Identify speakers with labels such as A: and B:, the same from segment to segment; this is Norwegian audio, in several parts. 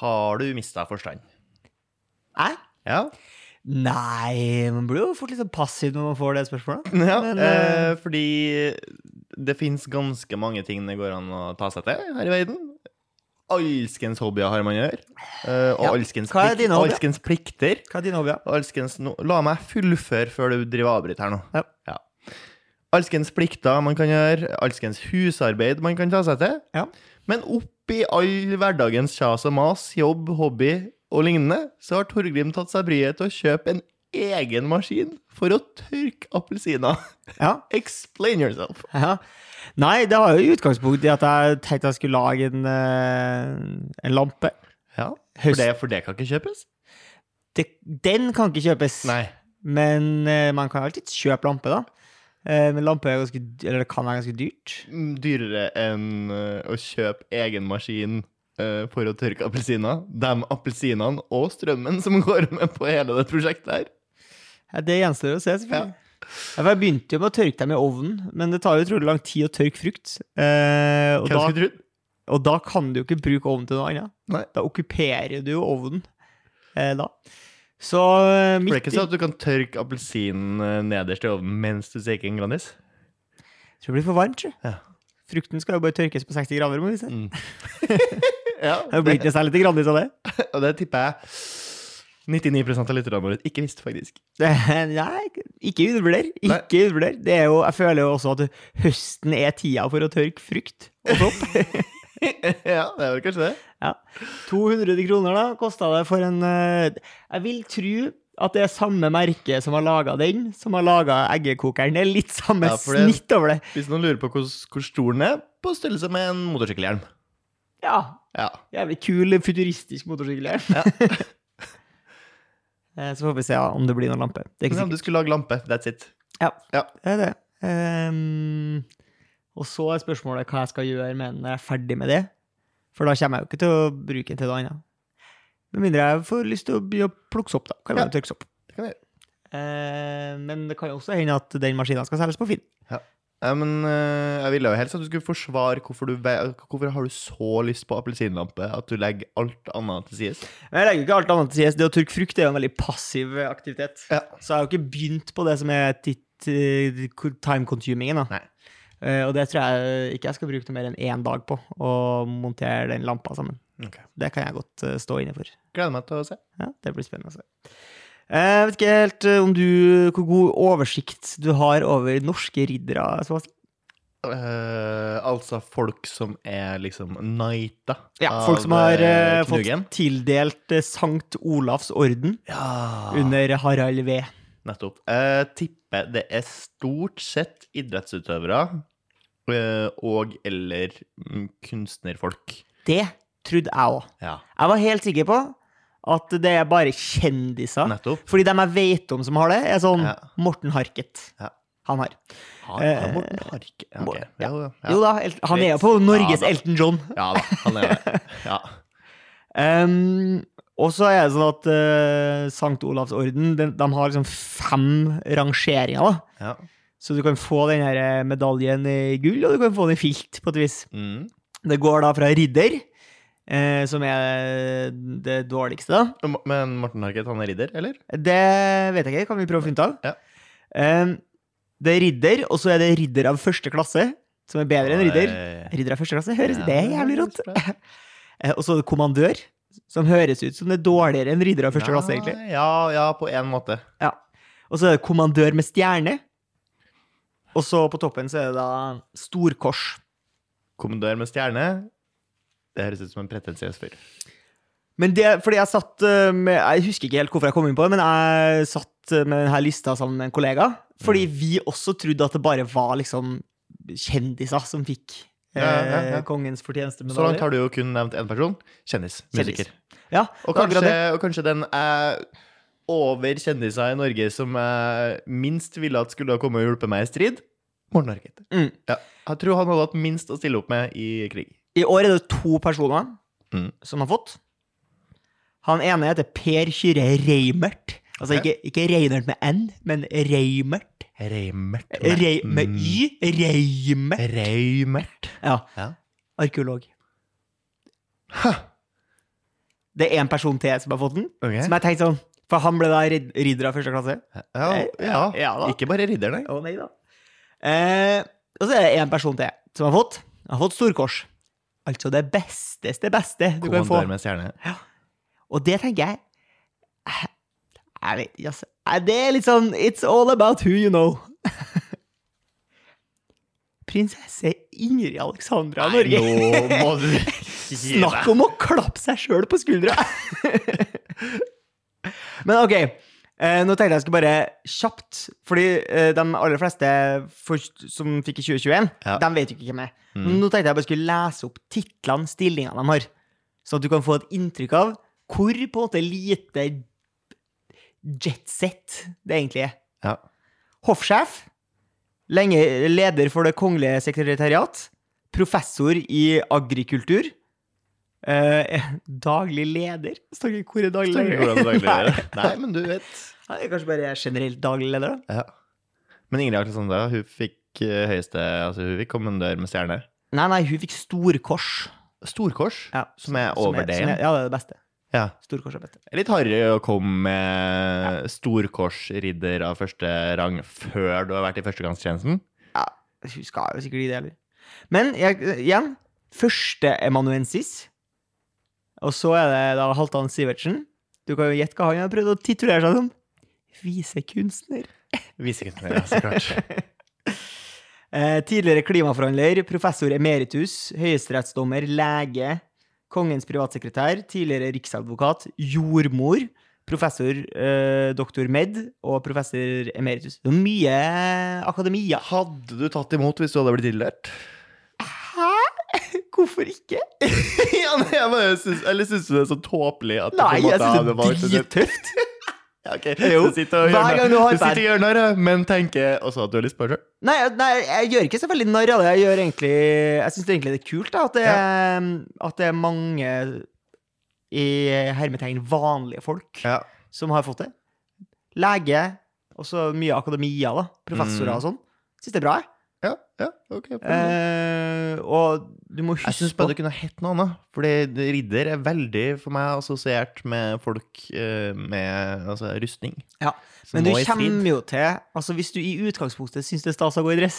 A: Har du mista forstand?
B: Nei?
A: Ja.
B: Nei, man blir jo fort litt sånn passiv når man får det spørsmålet.
A: ja
B: Men,
A: eh, fordi det fins ganske mange ting det går an å ta seg til her i verden. Alskens hobbyer har man å gjøre. Eh, og
B: Ja.
A: alskens,
B: Hva er
A: plikt,
B: dine hobbyer?
A: alskens plikter.
B: Hva er dine hobbyer?
A: Og Alskens no, La meg fullføre før du driver og avbryter her nå.
B: Ja.
A: Alskens plikter man kan gjøre, alskens husarbeid man kan ta seg til.
B: Ja.
A: Men oppi all hverdagens kjas og mas, jobb, hobby og lignende, så har Torgrim tatt seg bryet til å kjøpe en egen maskin for å tørke appelsiner.
B: Ja.
A: Explain yourself.
B: Ja. Nei, det har jo utgangspunkt i at jeg tenkte jeg skulle lage en, eh, en lampe.
A: Ja, For
B: Høst-
A: det, for det kan ikke kjøpes?
B: Det, den kan ikke kjøpes,
A: Nei.
B: men eh, man kan alltid kjøpe lampe, da. Eh, men lampe er ganske, dy- eller det kan være ganske dyrt.
A: Mm, Dyrere enn eh, å kjøpe egen maskin eh, for å tørke appelsiner. De appelsinene og strømmen som går med på hele det prosjektet her.
B: Ja, det gjenstår å se, selvfølgelig. Ja, for jeg begynte jo med å tørke dem i ovnen, men det tar jo utrolig lang tid å tørke frukt. Eh, og,
A: Hvem
B: da,
A: skulle trodd?
B: og da kan du jo ikke bruke ovnen til noe annet.
A: Nei.
B: Da okkuperer du jo ovnen eh, da. Så eh,
A: For det
B: midt
A: er ikke
B: i
A: sånn at du kan tørke appelsinen eh, nederst i ovnen mens du steker en Grandis?
B: Tror det blir for varmt, tror jeg.
A: Ja.
B: Frukten skal jo bare tørkes på 60 grader, må vi se.
A: Mm. ja,
B: Det blir ikke særlig til Grandis av det.
A: og det tipper jeg 99 av lytterne våre ikke visste, faktisk.
B: Det- Nei, ikke undervurder.
A: Nei.
B: Ikke undervurder. Det er jo, jeg føler jo også at høsten er tida for å tørke frukt og sopp.
A: ja, det er vel kanskje det.
B: ja. 200 kroner da, kosta det for en eh, Jeg vil tro at det er samme merke som har laga den, som har laga eggekokeren. Det er litt samme
A: Ja, for det-
B: snitt over det.
A: Hvis noen lurer på hvor, hvor stor den er, på størrelse med en motorsykkelhjelm.
B: Ja,
A: Ja.
B: Jævlig kul, futuristisk motorsykkelhjelm. Eh, Så får vi se ja, om det blir noen lampe. Det er ikke
A: Men om
B: sikkert.
A: du skulle lage lampe, that's it.
B: Ja,
A: Ja.
B: det er det. Ehm, og så er spørsmålet hva jeg skal gjøre med den når jeg er ferdig med det. For da kommer jeg jo ikke til å bruke den til noe annet. Med mindre jeg får lyst til å begynne å plukke sopp, da. Kan
A: Ja.
B: jeg begynne å tørke sopp.
A: Det kan jeg gjøre.
B: Eh, men det kan jo også hende at den maskinen skal selges på Finn.
A: Ja, men eh, jeg ville jo helst at du skulle forsvare hvorfor du ve- hvorfor har du så lyst på appelsinlampe at du legger alt annet til sides.
B: Men jeg legger jo ikke alt annet til sies. Det å tørke frukt er jo en veldig passiv aktivitet.
A: Ja.
B: Så jeg har jo ikke begynt på det som er titt- eh, time-consumingen. da.
A: Nei.
B: Eh, og det tror jeg ikke jeg skal bruke noe mer enn én dag på, å montere den lampa sammen. Det kan jeg godt eh, stå inne for.
A: Gleder meg til å se.
B: Ja, det blir spennende å se. Jeg vet ikke helt eh, om du, hvor god oversikt du har over norske riddere. Sebastian.
A: Eh, altså folk som er liksom knighta
B: Ja, folk som har eh, fått tildelt eh, Sankt Olavs orden
A: Ja,
B: under Harald V.
A: nettopp. Eh, tipper det er stort sett idrettsutøvere eh, og eller mm, kunstnerfolk.
B: Det trodde jeg òg.
A: Ja,
B: Jeg var helt sikker på at det er bare kjendiser.
A: nettopp.
B: Fordi dem jeg vet om som har det, er sånn
A: Ja.
B: Morten Harket.
A: Ja.
B: Han har.
A: Har, har
B: Eh,
A: Morten Harket ja, ok.
B: ja.
A: Jo, ja.
B: Jo da, El- han er jo på
A: Ja
B: Norges
A: da.
B: Elton John.
A: Ja da, han er det. Ja.
B: Um, og så er det sånn at eh, Sankt Olavs orden de, de har liksom fem rangeringer. da.
A: ja.
B: Så du kan få den her eh, medaljen i gull, og du kan få den i filt, på et vis.
A: Mm.
B: Det går da fra ridder, eh, som er det dårligste, da.
A: Men Morten Harket, han er ridder, eller?
B: Det vet jeg ikke, kan vi prøve å finne ut av.
A: Ja.
B: Ehm, det er ridder, og så er det ridder av første klasse, som er bedre enn ridder.
A: Nei.
B: Ridder av første klasse, høres,
A: Ja,
B: det er jævlig rått. Eh, Og så er det kommandør, som høres ut som det er dårligere enn ridder av første klasse, egentlig.
A: Nei, Ja, ja, på en måte.
B: Ja. Og så er det kommandør med stjerne. Og så på toppen så er det da storkors.
A: Kommandør med stjerne. Det høres ut som en pretensiøs fyr.
B: Men det, fordi jeg satt eh, med, jeg husker ikke helt hvorfor jeg kom inn på det, men jeg satt eh, med denne lista sammen med en kollega, fordi
A: Mm.
B: vi også trodde at det bare var liksom kjendiser som fikk eh,
A: Ja, ja, ja.
B: kongens fortjenestemedalje.
A: Så langt har du jo kun nevnt én person. Kjendis.
B: Kjendis.
A: Musiker.
B: Ja,
A: Og
B: det er akkurat
A: kanskje,
B: det.
A: og kanskje den eh, over kjendiser i Norge som jeg minst ville at skulle ha kommet og hjulpet meg i strid. Morten Harket.
B: Mm.
A: Ja. Jeg tror han hadde hatt minst å stille opp med i krig.
B: I år er det to personer
A: Mm.
B: som har fått. Han ene heter Per Kyrre Reimert. Altså
A: Ok.
B: ikke, ikke Reinert med N, men Reimert.
A: Reimert.
B: Rei, med Y. Reimert.
A: Reimert.
B: Ja.
A: Ja.
B: Arkeolog. Det er én person til som har fått den.
A: Ok.
B: Som jeg tenkte sånn For han ble da rid- ridder av første klasse.
A: Ja, ja.
B: Ja da.
A: Ikke bare ridder, nei.
B: Å nei da. Eh, og så er det én person til som har fått. Han har fått storkors. Altså det besteste beste du kan få.
A: Kommandør med stjerne.
B: Og det tenker jeg eh, Jeg vet ikke, altså. Eh, Det er litt sånn It's all about who you know. Prinsesse Ingrid Alexandra av Norge.
A: Nå må du gi
B: Snakk om å klappe seg sjøl på skuldra! Men ok, eh, nå tenkte jeg jeg skulle bare kjapt Fordi eh, de aller fleste først, som fikk i 2021,
A: Ja.
B: de vet jo ikke hvem er.
A: Mm.
B: Nå tenkte jeg bare skulle lese opp titlene, stillingene de har, sånn at du kan få et inntrykk av hvor på en måte lite jetset det egentlig er.
A: Ja.
B: Hoffsjef, lenge leder for det kongelige sekretariat, professor i agrikultur, eh, daglig leder Står ikke hvor er daglig
A: Står ikke
B: leder?
A: hvordan det egentlig
B: Nei,
A: er. Nei, men du vet.
B: han er kanskje bare generelt daglig leder, da.
A: Ja. Men Ingrid Alexandra, hun fikk eh, høyeste Altså, hun fikk kommandør med stjerne.
B: Nei, nei, hun fikk storkors.
A: Storkors,
B: Ja,
A: som er over det
B: som
A: igjen.
B: er- Ja, det er det beste.
A: Ja.
B: Storkors er beste.
A: Litt harry å komme med storkorsridder av første rang før du har vært i førstegangstjenesten.
B: Ja, hun skal jo sikkert gi det, heller. Men jeg, igjen, førsteemanuensis. Og så er det da Halvdan Sivertsen. Du kan jo gjette hva han har prøvd å titulere seg som. Visekunstner.
A: Visekunstner, ja, så klart.
B: Eh, tidligere klimaforhandler, professor emeritus, høyesterettsdommer, lege, kongens privatsekretær, tidligere riksadvokat, jordmor, professor eh, doktor med og professor emeritus. Det er mye akademia.
A: Hadde du tatt imot hvis du hadde blitt tildelt?
B: Hæ? Hvorfor ikke?
A: ja, men jeg bare syns, eller syns du det er så tåpelig at
B: Nei,
A: du på en
B: jeg
A: måte hadde
B: syns det er
A: valgt
B: drittøft.
A: Ja, ok.
B: Jo,
A: Du sitter og
B: hver
A: gjør
B: gang du
A: narr-
B: har
A: du sitter
B: bad-
A: og gjør narr, av, men tenker også at du har lyst på det sjøl.
B: Nei, nei, jeg gjør ikke så veldig narr av det. Jeg, gjør egentlig, jeg syns egentlig det er kult da, at, det, er- at det er mange i hermetegn vanlige folk
A: Ja.
B: som har fått det. Lege, og så mye akademia, da. Professorer
A: Mm.
B: og sånn. Syns det er bra, jeg.
A: Ja, ja, ok.
B: Eh, og du må
A: jeg syns
B: huske på
A: bare det kunne hett noe annet. Fordi ridder er veldig for meg assosiert med folk eh, med altså, rustning.
B: Ja,
A: Som
B: Men du
A: må i strid.
B: kommer jo til Altså, hvis du i utgangspunktet syns det er stas å gå i dress,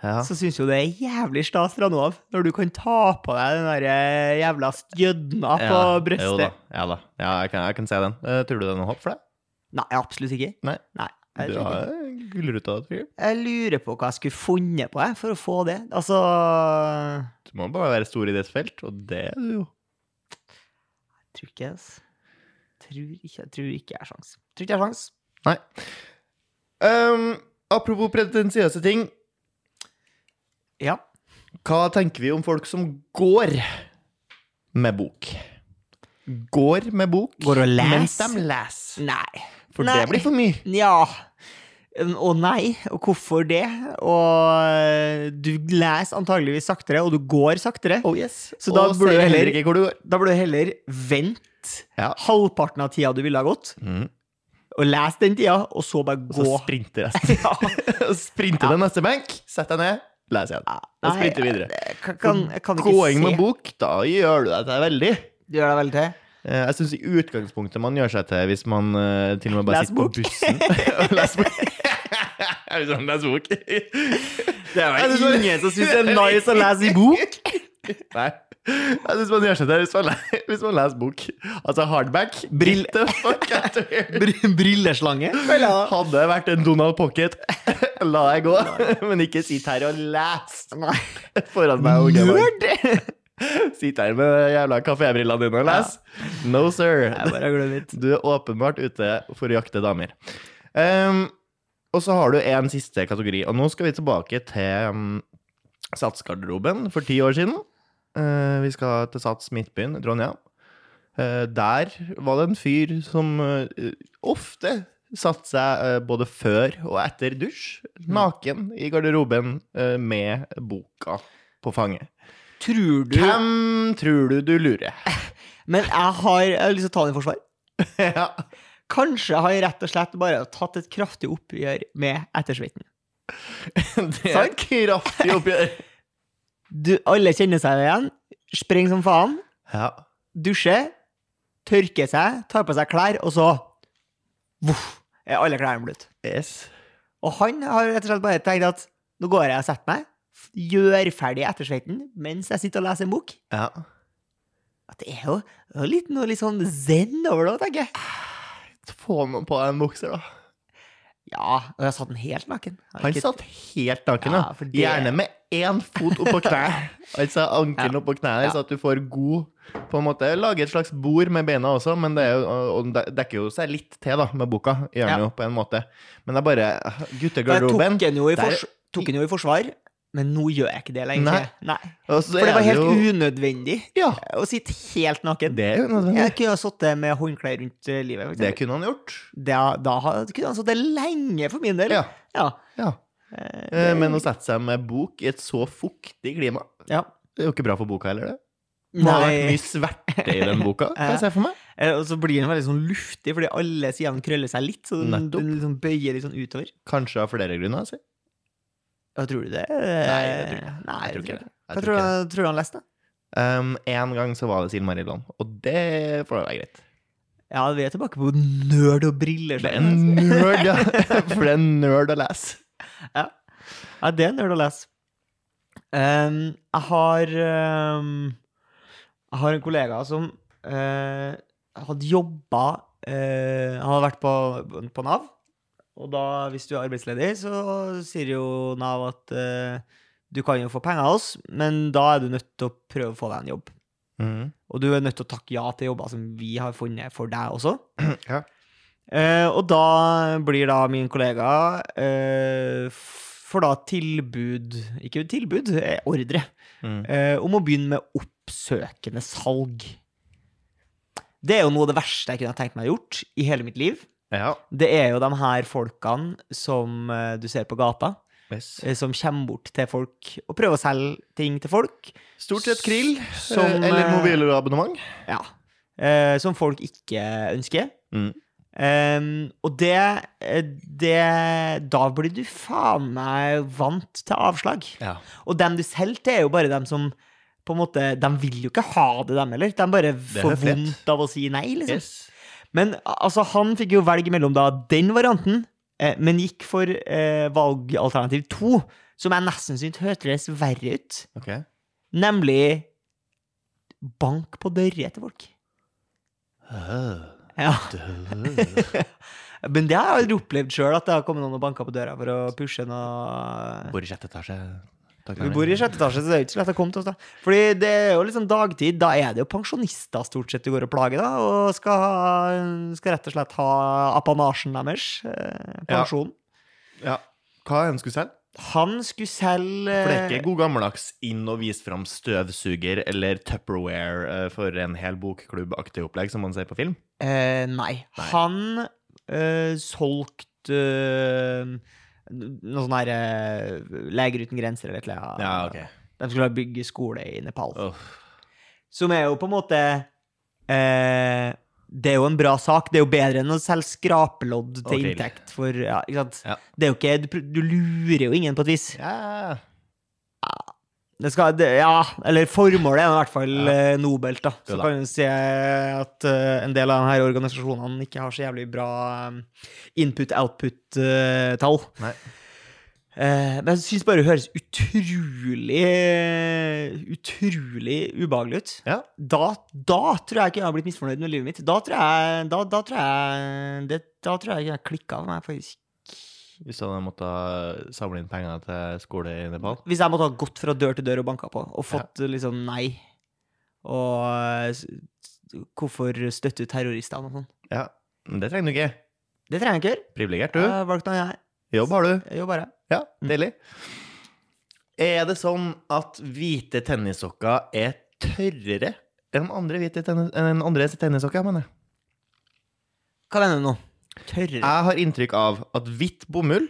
A: ja.
B: så syns jo det er jævlig stas fra nå av, når du kan ta på deg den der eh, jævla gjødna på
A: Jo da.
B: brystet.
A: Ja, da. ja jeg, kan, jeg kan se den. Eh, tror du det er noe håp for deg?
B: Nei, absolutt ikke.
A: Nei.
B: jeg,
A: Du
B: tror ikke.
A: har gullruta, tror jeg.
B: jeg lurer på hva jeg skulle funnet på jeg, for å få det. Altså
A: Du må bare være stor i ditt felt, og det er du jo.
B: Jeg tror ikke jeg ass. Tror ikke, jeg tror ikke jeg har sjans. Tror ikke jeg har sjans.
A: Nei. Ehm, apropos pretensiøse ting.
B: Ja.
A: Hva tenker vi om folk som går med bok? Går med bok
B: Går og les?
A: mens de leser.
B: Nei.
A: For
B: Nei.
A: det blir for mye.
B: Ja. Og nei, og hvorfor det? Og du leser antageligvis saktere, og du går saktere.
A: Oh yes.
B: Så da
A: Og
B: burde
A: ser
B: du heller-
A: ikke hvor du går.
B: Da burde du heller vente
A: Ja.
B: halvparten av tida du ville ha gått,
A: Mm.
B: og lese den tida, og så bare
A: Så
B: gå.
A: sprinter resten.
B: ja.
A: sprinter den neste benk, sett deg ned, les igjen. Og
B: Nei,
A: sprinter videre.
B: jeg Kan, kan, jeg kan ikke
A: Gåing
B: se.
A: med bok, da gjør du deg til veldig.
B: Du gjør deg veldig til.
A: Eh, Jeg syns i utgangspunktet man gjør seg til hvis man eh, til og med bare
B: Les
A: sitter
B: bok.
A: på bussen og leser bok. Er det sånn, Les bok.
B: Det er
A: vel
B: ingen som syns det er nice å lese i bok?
A: Nei. Jeg syns man gjør seg til hvis man, le- hvis man leser bok. Altså hardback.
B: Brill-
A: Get the fuck out of here.
B: Br- Brilleslange?
A: Hadde det vært en Donald Pocket, la deg gå. Men ikke sitt her og les
B: Nei.
A: foran meg. unge mann.
B: Nerd!
A: Sitt her med jævla kafébrillene dine og les. No, sir.
B: Jeg bare glemmer det.
A: Du er åpenbart ute for å jakte damer. Ehm, og så har du en siste kategori, og nå skal vi tilbake til um, Satsgarderoben for ti år siden. Eh, vi skal til Sats Midtbyen, Trondheim. Eh, der var det en fyr som eh, ofte satte seg eh, både før og etter dusj, naken i garderoben eh, med boka på fanget.
B: Tror du
A: Hvem tror du du lurer?
B: Men jeg har, jeg har lyst til å ta den i forsvar.
A: ja.
B: Kanskje har jeg rett og slett bare tatt et kraftig oppgjør med ettersveiten.
A: Det er et kraftig oppgjør.
B: Du, alle kjenner seg igjen. Springer som faen.
A: Ja.
B: Dusjer. tørker seg, tar på seg klær, og så voff, er alle klærne blitt.
A: Yes.
B: Og han har rett og slett bare tenkt at nå går jeg og setter meg, f- gjør ferdig ettersveiten mens jeg sitter og leser en bok.
A: Ja.
B: At det er jo, det er jo litt noe litt sånn zen over det, tenker jeg.
A: Få noen på en bokser, da.
B: Ja, og jeg satt den helt naken. Jeg har
A: Han
B: ikke-
A: satt helt naken,
B: Ja, for
A: da.
B: det-
A: Gjerne med én fot oppå kneet. Altså ankelen oppå kneet, så at du får god på en måte, Lage et slags bord med beina også, men det er jo, og det dekker jo seg litt til da, med boka. Gjør den
B: Ja.
A: jo på en måte. Men det er bare
B: Jeg
A: guttegarderoben.
B: tok den jo i,
A: der-
B: fors tok den jo i forsvar, men nå gjør jeg ikke det lenger.
A: Nei.
B: Nei.
A: Og så
B: For det
A: er
B: var helt
A: jo-
B: unødvendig
A: Ja,
B: å sitte helt naken.
A: det er jo nødvendig.
B: Jeg kunne ha sittet med håndklær rundt eh, livet. for
A: Det
B: eksempel.
A: kunne han gjort.
B: Da, da ha- kunne han sittet lenge, for min del.
A: Ja.
B: Ja.
A: ja.
B: Eh,
A: Eh,
B: det-
A: Men å sette seg med bok i et så fuktig klima,
B: ja.
A: det er jo ikke bra for boka heller, det. Det har vært
B: Nei.
A: mye sverte i den boka, kan
B: Ja.
A: jeg se for meg.
B: Eh, Og så blir den veldig sånn luftig, fordi alle sidene krøller seg litt. Så den,
A: Nettopp.
B: den liksom bøyer litt sånn utover.
A: Kanskje av flere grunner. Si.
B: Ja, tror du det?
A: Eh, Nei, jeg tror ikke det.
B: Nei,
A: Jeg tror ikke det.
B: det.
A: Jeg
B: Hva
A: tror
B: tror,
A: ikke det.
B: du- tror du han leste?
A: Um, en gang så var det Silmarillion, og det får være greit.
B: Ja, vi er tilbake på nerd og briller.
A: Det er
B: sånn.
A: en nerd, ja. For det er en nerd å lese.
B: Ja, det er nerd å lese. Ehm, jeg har ehm, Jeg har en kollega som eh, hadde jobba eh, Han hadde vært på, på Nav. Og da, hvis du er arbeidsledig, så sier jo Nav at eh, du kan jo få penger av oss, men da er du nødt til å prøve å få deg en jobb.
A: Mm.
B: Og du er nødt til å takke ja til jobber som vi har funnet for deg også.
A: Ja.
B: Eh, og da blir da min kollega eh, f- får da tilbud Ikke tilbud, eh, ordre.
A: Mm.
B: Eh, om å begynne med oppsøkende salg. Det er jo noe av det verste jeg kunne ha tenkt meg å gjort i hele mitt liv.
A: ja.
B: Det er jo de her folkene som eh, du ser på gata,
A: Yes.
B: eh, som kommer bort til folk og prøver å selge ting til folk.
A: Stort sett krill
B: Som,
A: eh, eller
B: eh,
A: mobilabonnement.
B: Ja. Eh, som folk ikke ønsker.
A: Mm.
B: Em, Ehm, og det, eh, det Da blir du faen meg vant til avslag.
A: Ja.
B: Og dem du selger til, er jo bare dem som på en måte, De vil jo ikke ha det, dem heller. De bare
A: er
B: får
A: fett.
B: vondt av å si nei, liksom.
A: Yes.
B: Men a- altså, han fikk jo velge mellom da den varianten, eh, men gikk for eh, valgalternativ to, som jeg nesten syntes hørtes verre ut.
A: Ok.
B: Nemlig bank på dører til folk. Ja. Men det har jeg aldri opplevd sjøl, at det har kommet noen og banka på døra for å pushe noe
A: Bor i sjette etasje. Takk,
B: Vi bor i sjette etasje, så det er jo ikke så lett å komme til oss, da. Fordi det er jo liksom dagtid, da er det jo pensjonister stort sett du går og plager, da, og skal, ha- skal rett og slett ha apanasjen deres, eh,
A: Ja.
B: pensjonen.
A: Ja. Hva ønsker du selv?
B: Han skulle selge
A: For det er ikke god gammeldags inn og vise fram støvsuger eller Tupperware eh, for en hel bokklubbaktig opplegg som man ser på film.
B: Eh, nei.
A: Nei.
B: Han eh, solgte eh, noe sånn her eh, Leger uten grenser eller et eller annet. De skulle da bygge skole i Nepal.
A: Uff.
B: Som er jo på en måte eh, Det er jo en bra sak. Det er jo bedre enn å selge skrapelodd til
A: Og grill.
B: inntekt for ja, ikke sant?
A: Ja.
B: Det er jo ikke, du, pr- du lurer jo ingen på et vis.
A: Ja.
B: Det skal, det, ja, eller formålet er i hvert fall
A: Ja.
B: eh, nobelt, da.
A: Jo
B: Så
A: da.
B: kan vi si at eh, en del av de her organisasjonene ikke har så jævlig bra eh, input-output-tall. Eh,
A: Nei.
B: men jeg syns bare det høres utrolig utrolig ubehagelig ut.
A: Ja.
B: Da, da tror jeg ikke jeg har blitt misfornøyd med livet mitt. Da tror jeg Da, da tror jeg det, Da tror jeg ikke jeg klikka for meg, faktisk.
A: Hvis du hadde måttet samle inn penger til skole i Nepal?
B: Hvis jeg måtte ha gått fra dør til dør og banka på, og fått liksom nei Og eh, s- hvorfor støtte terroristene og sånn.
A: Ja. Men det trenger du ikke.
B: Det trenger jeg ikke gjøre.
A: Privilegert,
B: Jeg
A: du.
B: har valgt noe jeg
A: Jobb har du. Mm.
B: jeg gjør bare.
A: Ja, deilig. Er det sånn at hvite tennissokker er tørrere enn andre, hvite tennis, enn andre tennissokker? jeg Mener. jeg?
B: Hva mener du nå? Tørrere?
A: Jeg har inntrykk av at hvitt bomull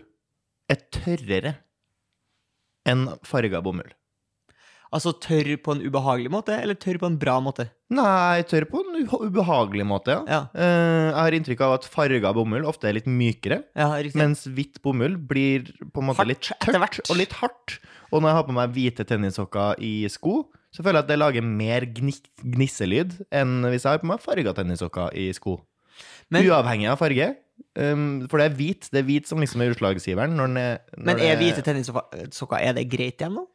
A: er tørrere enn farga bomull.
B: Altså tørr på en ubehagelig måte, eller tørr på en bra måte?
A: Nei, tørr på en uha- ubehagelig måte, ja.
B: Ja,
A: Eh, Jeg har inntrykk av at farga bomull ofte er litt mykere.
B: ja riktig.
A: Mens hvitt bomull blir på en måte
B: Hardt
A: litt
B: etter
A: tørt
B: hvert.
A: og litt hardt. Og når jeg har på meg hvite tennissokker i sko, så føler jeg at det lager mer gni gnisselyd enn hvis jeg har på meg farga tennissokker i sko.
B: Men-
A: Uavhengig av farge. Um, for det er hvit det er hvit som liksom er utslagsgiveren. Når den er, når
B: Men er
A: det-
B: hvite tennissokker eh, er det greit igjen nå?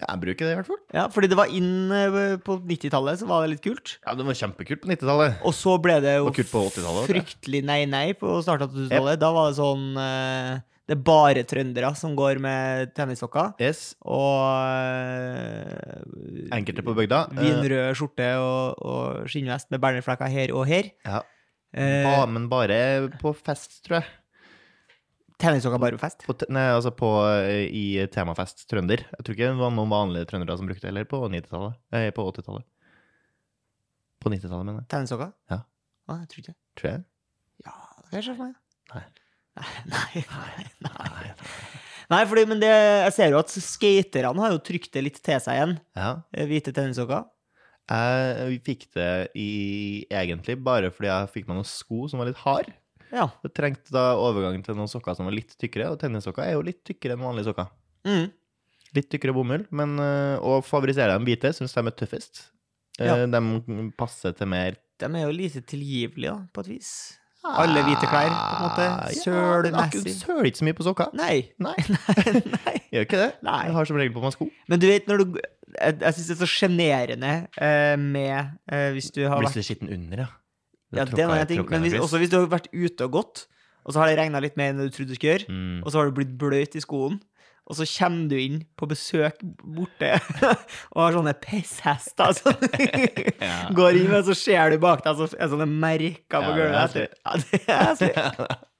A: Jeg bruker det, i hvert fall.
B: Ja, fordi det var inn eh, på 90-tallet, så var det litt kult.
A: Ja, Det var kjempekult på 90-tallet.
B: Og så ble det jo
A: Det var kult på 80-tallet, vet jeg.
B: fryktelig nei-nei på starten av 2000-tallet. Da var det sånn eh, Det er bare trøndere som går med tennissokker.
A: Yes,
B: Og eh,
A: Enkelte på bygda. eh,
B: vinrød skjorte og, og skinnvest med bernerflekker her og her.
A: Ja.
B: Eh,
A: ba, men bare på fest, tror jeg.
B: tennissokker bare på fest.
A: På, te- nei, altså på, eh, I temafest trønder. Jeg tror ikke det var noen vanlige trøndere som brukte det heller på 90-tallet. Eh, på 80-tallet. På 90-tallet, mener jeg.
B: Tennissokker?
A: Ja.
B: Ah, jeg tror ikke det.
A: Tror jeg.
B: Ja, det kan jeg se for meg.
A: Nei.
B: Nei, nei, nei. Nei, fordi, men det, jeg ser jo at skaterne har jo trykt det litt til seg igjen.
A: Ja.
B: eh, Hvite tennissokker.
A: Jeg fikk det i, egentlig bare fordi jeg fikk meg noen sko som var litt hard.
B: Ja.
A: Jeg trengte da overgang til noen sokker som var litt tykkere, og tennissokker er jo litt tykkere enn vanlige sokker.
B: Mm.
A: Litt tykkere bomull, men eh, å favorisere de hvite syns de er tøffest. Eh, De passer til mer
B: De er jo lite tilgivelige, da, på et vis. Alle hvite klær, på en måte.
A: Ah, Ja, men akkurat
B: Sølmessig.
A: Søler ikke så mye på sokker.
B: Nei.
A: Nei.
B: Nei, nei.
A: Gjør ikke det.
B: Nei.
A: Jeg har som regel på meg sko.
B: Men du vet når du Jeg, jeg syns det er så sjenerende eh, med eh, Hvis du har
A: Blir
B: vært
A: så skitten under, ja.
B: Ja, det er noe jeg tenker. Men hvis, også hvis du har vært ute og gått, og så har det regna litt mer enn du trodde du skulle gjøre,
A: Mm.
B: og så har du blitt bløt i skoen, og så kommer du inn på besøk borte og har sånne pisshester som
A: Ja.
B: går inn, og så ser du bak deg, så er sånne merker på gulvet.
A: Ja, det
B: etter. Ja, det er heslig.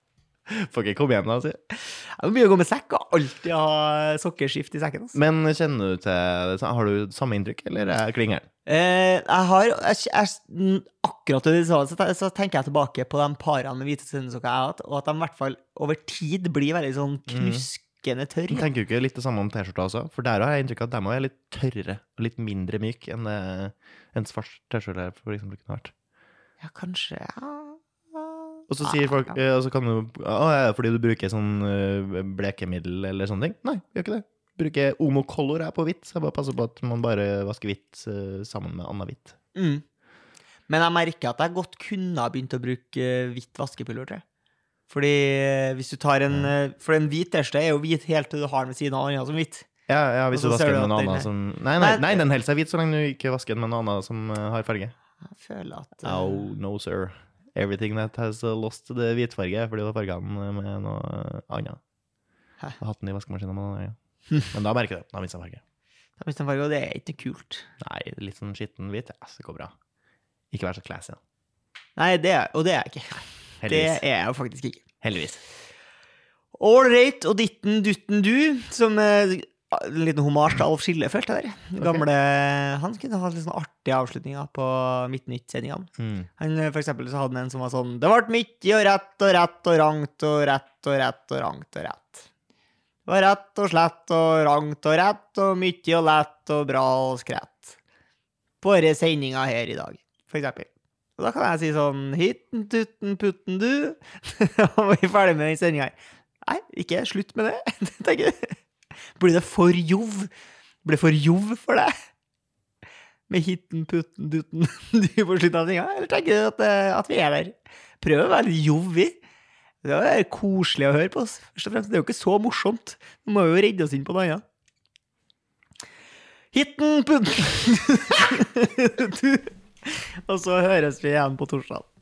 A: Får ikke komme altså. hjem, da, si.
B: Det er mye å gå med sekk og alltid ha sokkeskift i sekken. Altså.
A: Men kjenner du til det? Har du samme inntrykk, eller er jeg klingeren?
B: Eh, jeg har jeg, jeg, n- Akkurat det du sa, så, te- så tenker jeg tilbake på de parene med hvite søndagssokker jeg har hatt, og at de i hvert fall over tid blir veldig sånn knuskende tørre.
A: Tenker du ikke litt det samme om T-skjorta også? For der har jeg inntrykk av at dem også er litt tørrere og litt mindre myk enn det- en svart T-skjorte for eksempel kunne vært.
B: Ja, kanskje ja.
A: Og så sier folk, eh, og så kan du Å, er det fordi du bruker sånn eh, blekemiddel eller sånne ting? Nei, gjør ikke det. Bruker omocolor er på hvitt, så jeg bare passer på at man bare vasker hvitt eh, sammen med annet hvitt.
B: mm. Men jeg merker at jeg godt kunne ha begynt å bruke eh, hvitt vaskepulver, tror jeg. Fordi eh, hvis du tar en eh, For en hvit T-skjorte er jo hvit helt til du har den ved siden av den andre som hvit.
A: Ja, ja, hvis
B: Og så
A: du
B: ser
A: vasker
B: du
A: den med noe
B: at den er-
A: annet som nei, nei,
B: Nei,
A: nei, den holder seg hvit så lenge du ikke vasker den med noe annet som eh, har farge.
B: Jeg føler at eh,
A: Oh, no, sir. Everything that has uh, lost det hvitfarge er fordi du har farga den uh, med noe uh, annet.
B: Hæ?
A: Jeg har hatt den i vaskemaskinen med noe annet. Men da merker jeg det. Da mister jeg farge.
B: da mister jeg farge, og det er ikke kult.
A: Nei, litt sånn skitten hvit. Ja, så det går bra. Ikke vær så classy, da.
B: Nei, det er, og det er jeg ikke. Det
A: Heldigvis.
B: er jeg jo faktisk ikke.
A: Heldigvis.
B: Ålreit og ditten dutten du, som eh, en liten hommage til Alf Skille, følte jeg der. Den Gamle, Han kunne hatt litt sånn artige avslutninger på Midtnytt-sendingene.
A: Mm.
B: Han, eh, For eksempel så hadde han en som var sånn Det ble mye og rett og rett og rangt og rett og rett og rangt og rett. Det var rett og slett og rangt og rett og mye og lett og bra og skrett. På denne sendinga her i dag, for eksempel. Og da kan jeg si sånn Hitten tutten putten du. Og vi er ferdig med den sendinga her. Nei, ikke slutt med det, tenker jeg. Blir det for jov? Blir det for jov for deg? Med hitten putten dutten du på slutten av sendinga? Eller tenker du at, eh, at vi er der? Prøv å være litt jov, vi. Det er koselig å høre på oss. Først og fremst, det er jo ikke så morsomt. Vi må jo redde oss inn på noe annet. Hitten putten du. Og så høres vi igjen på torsdag.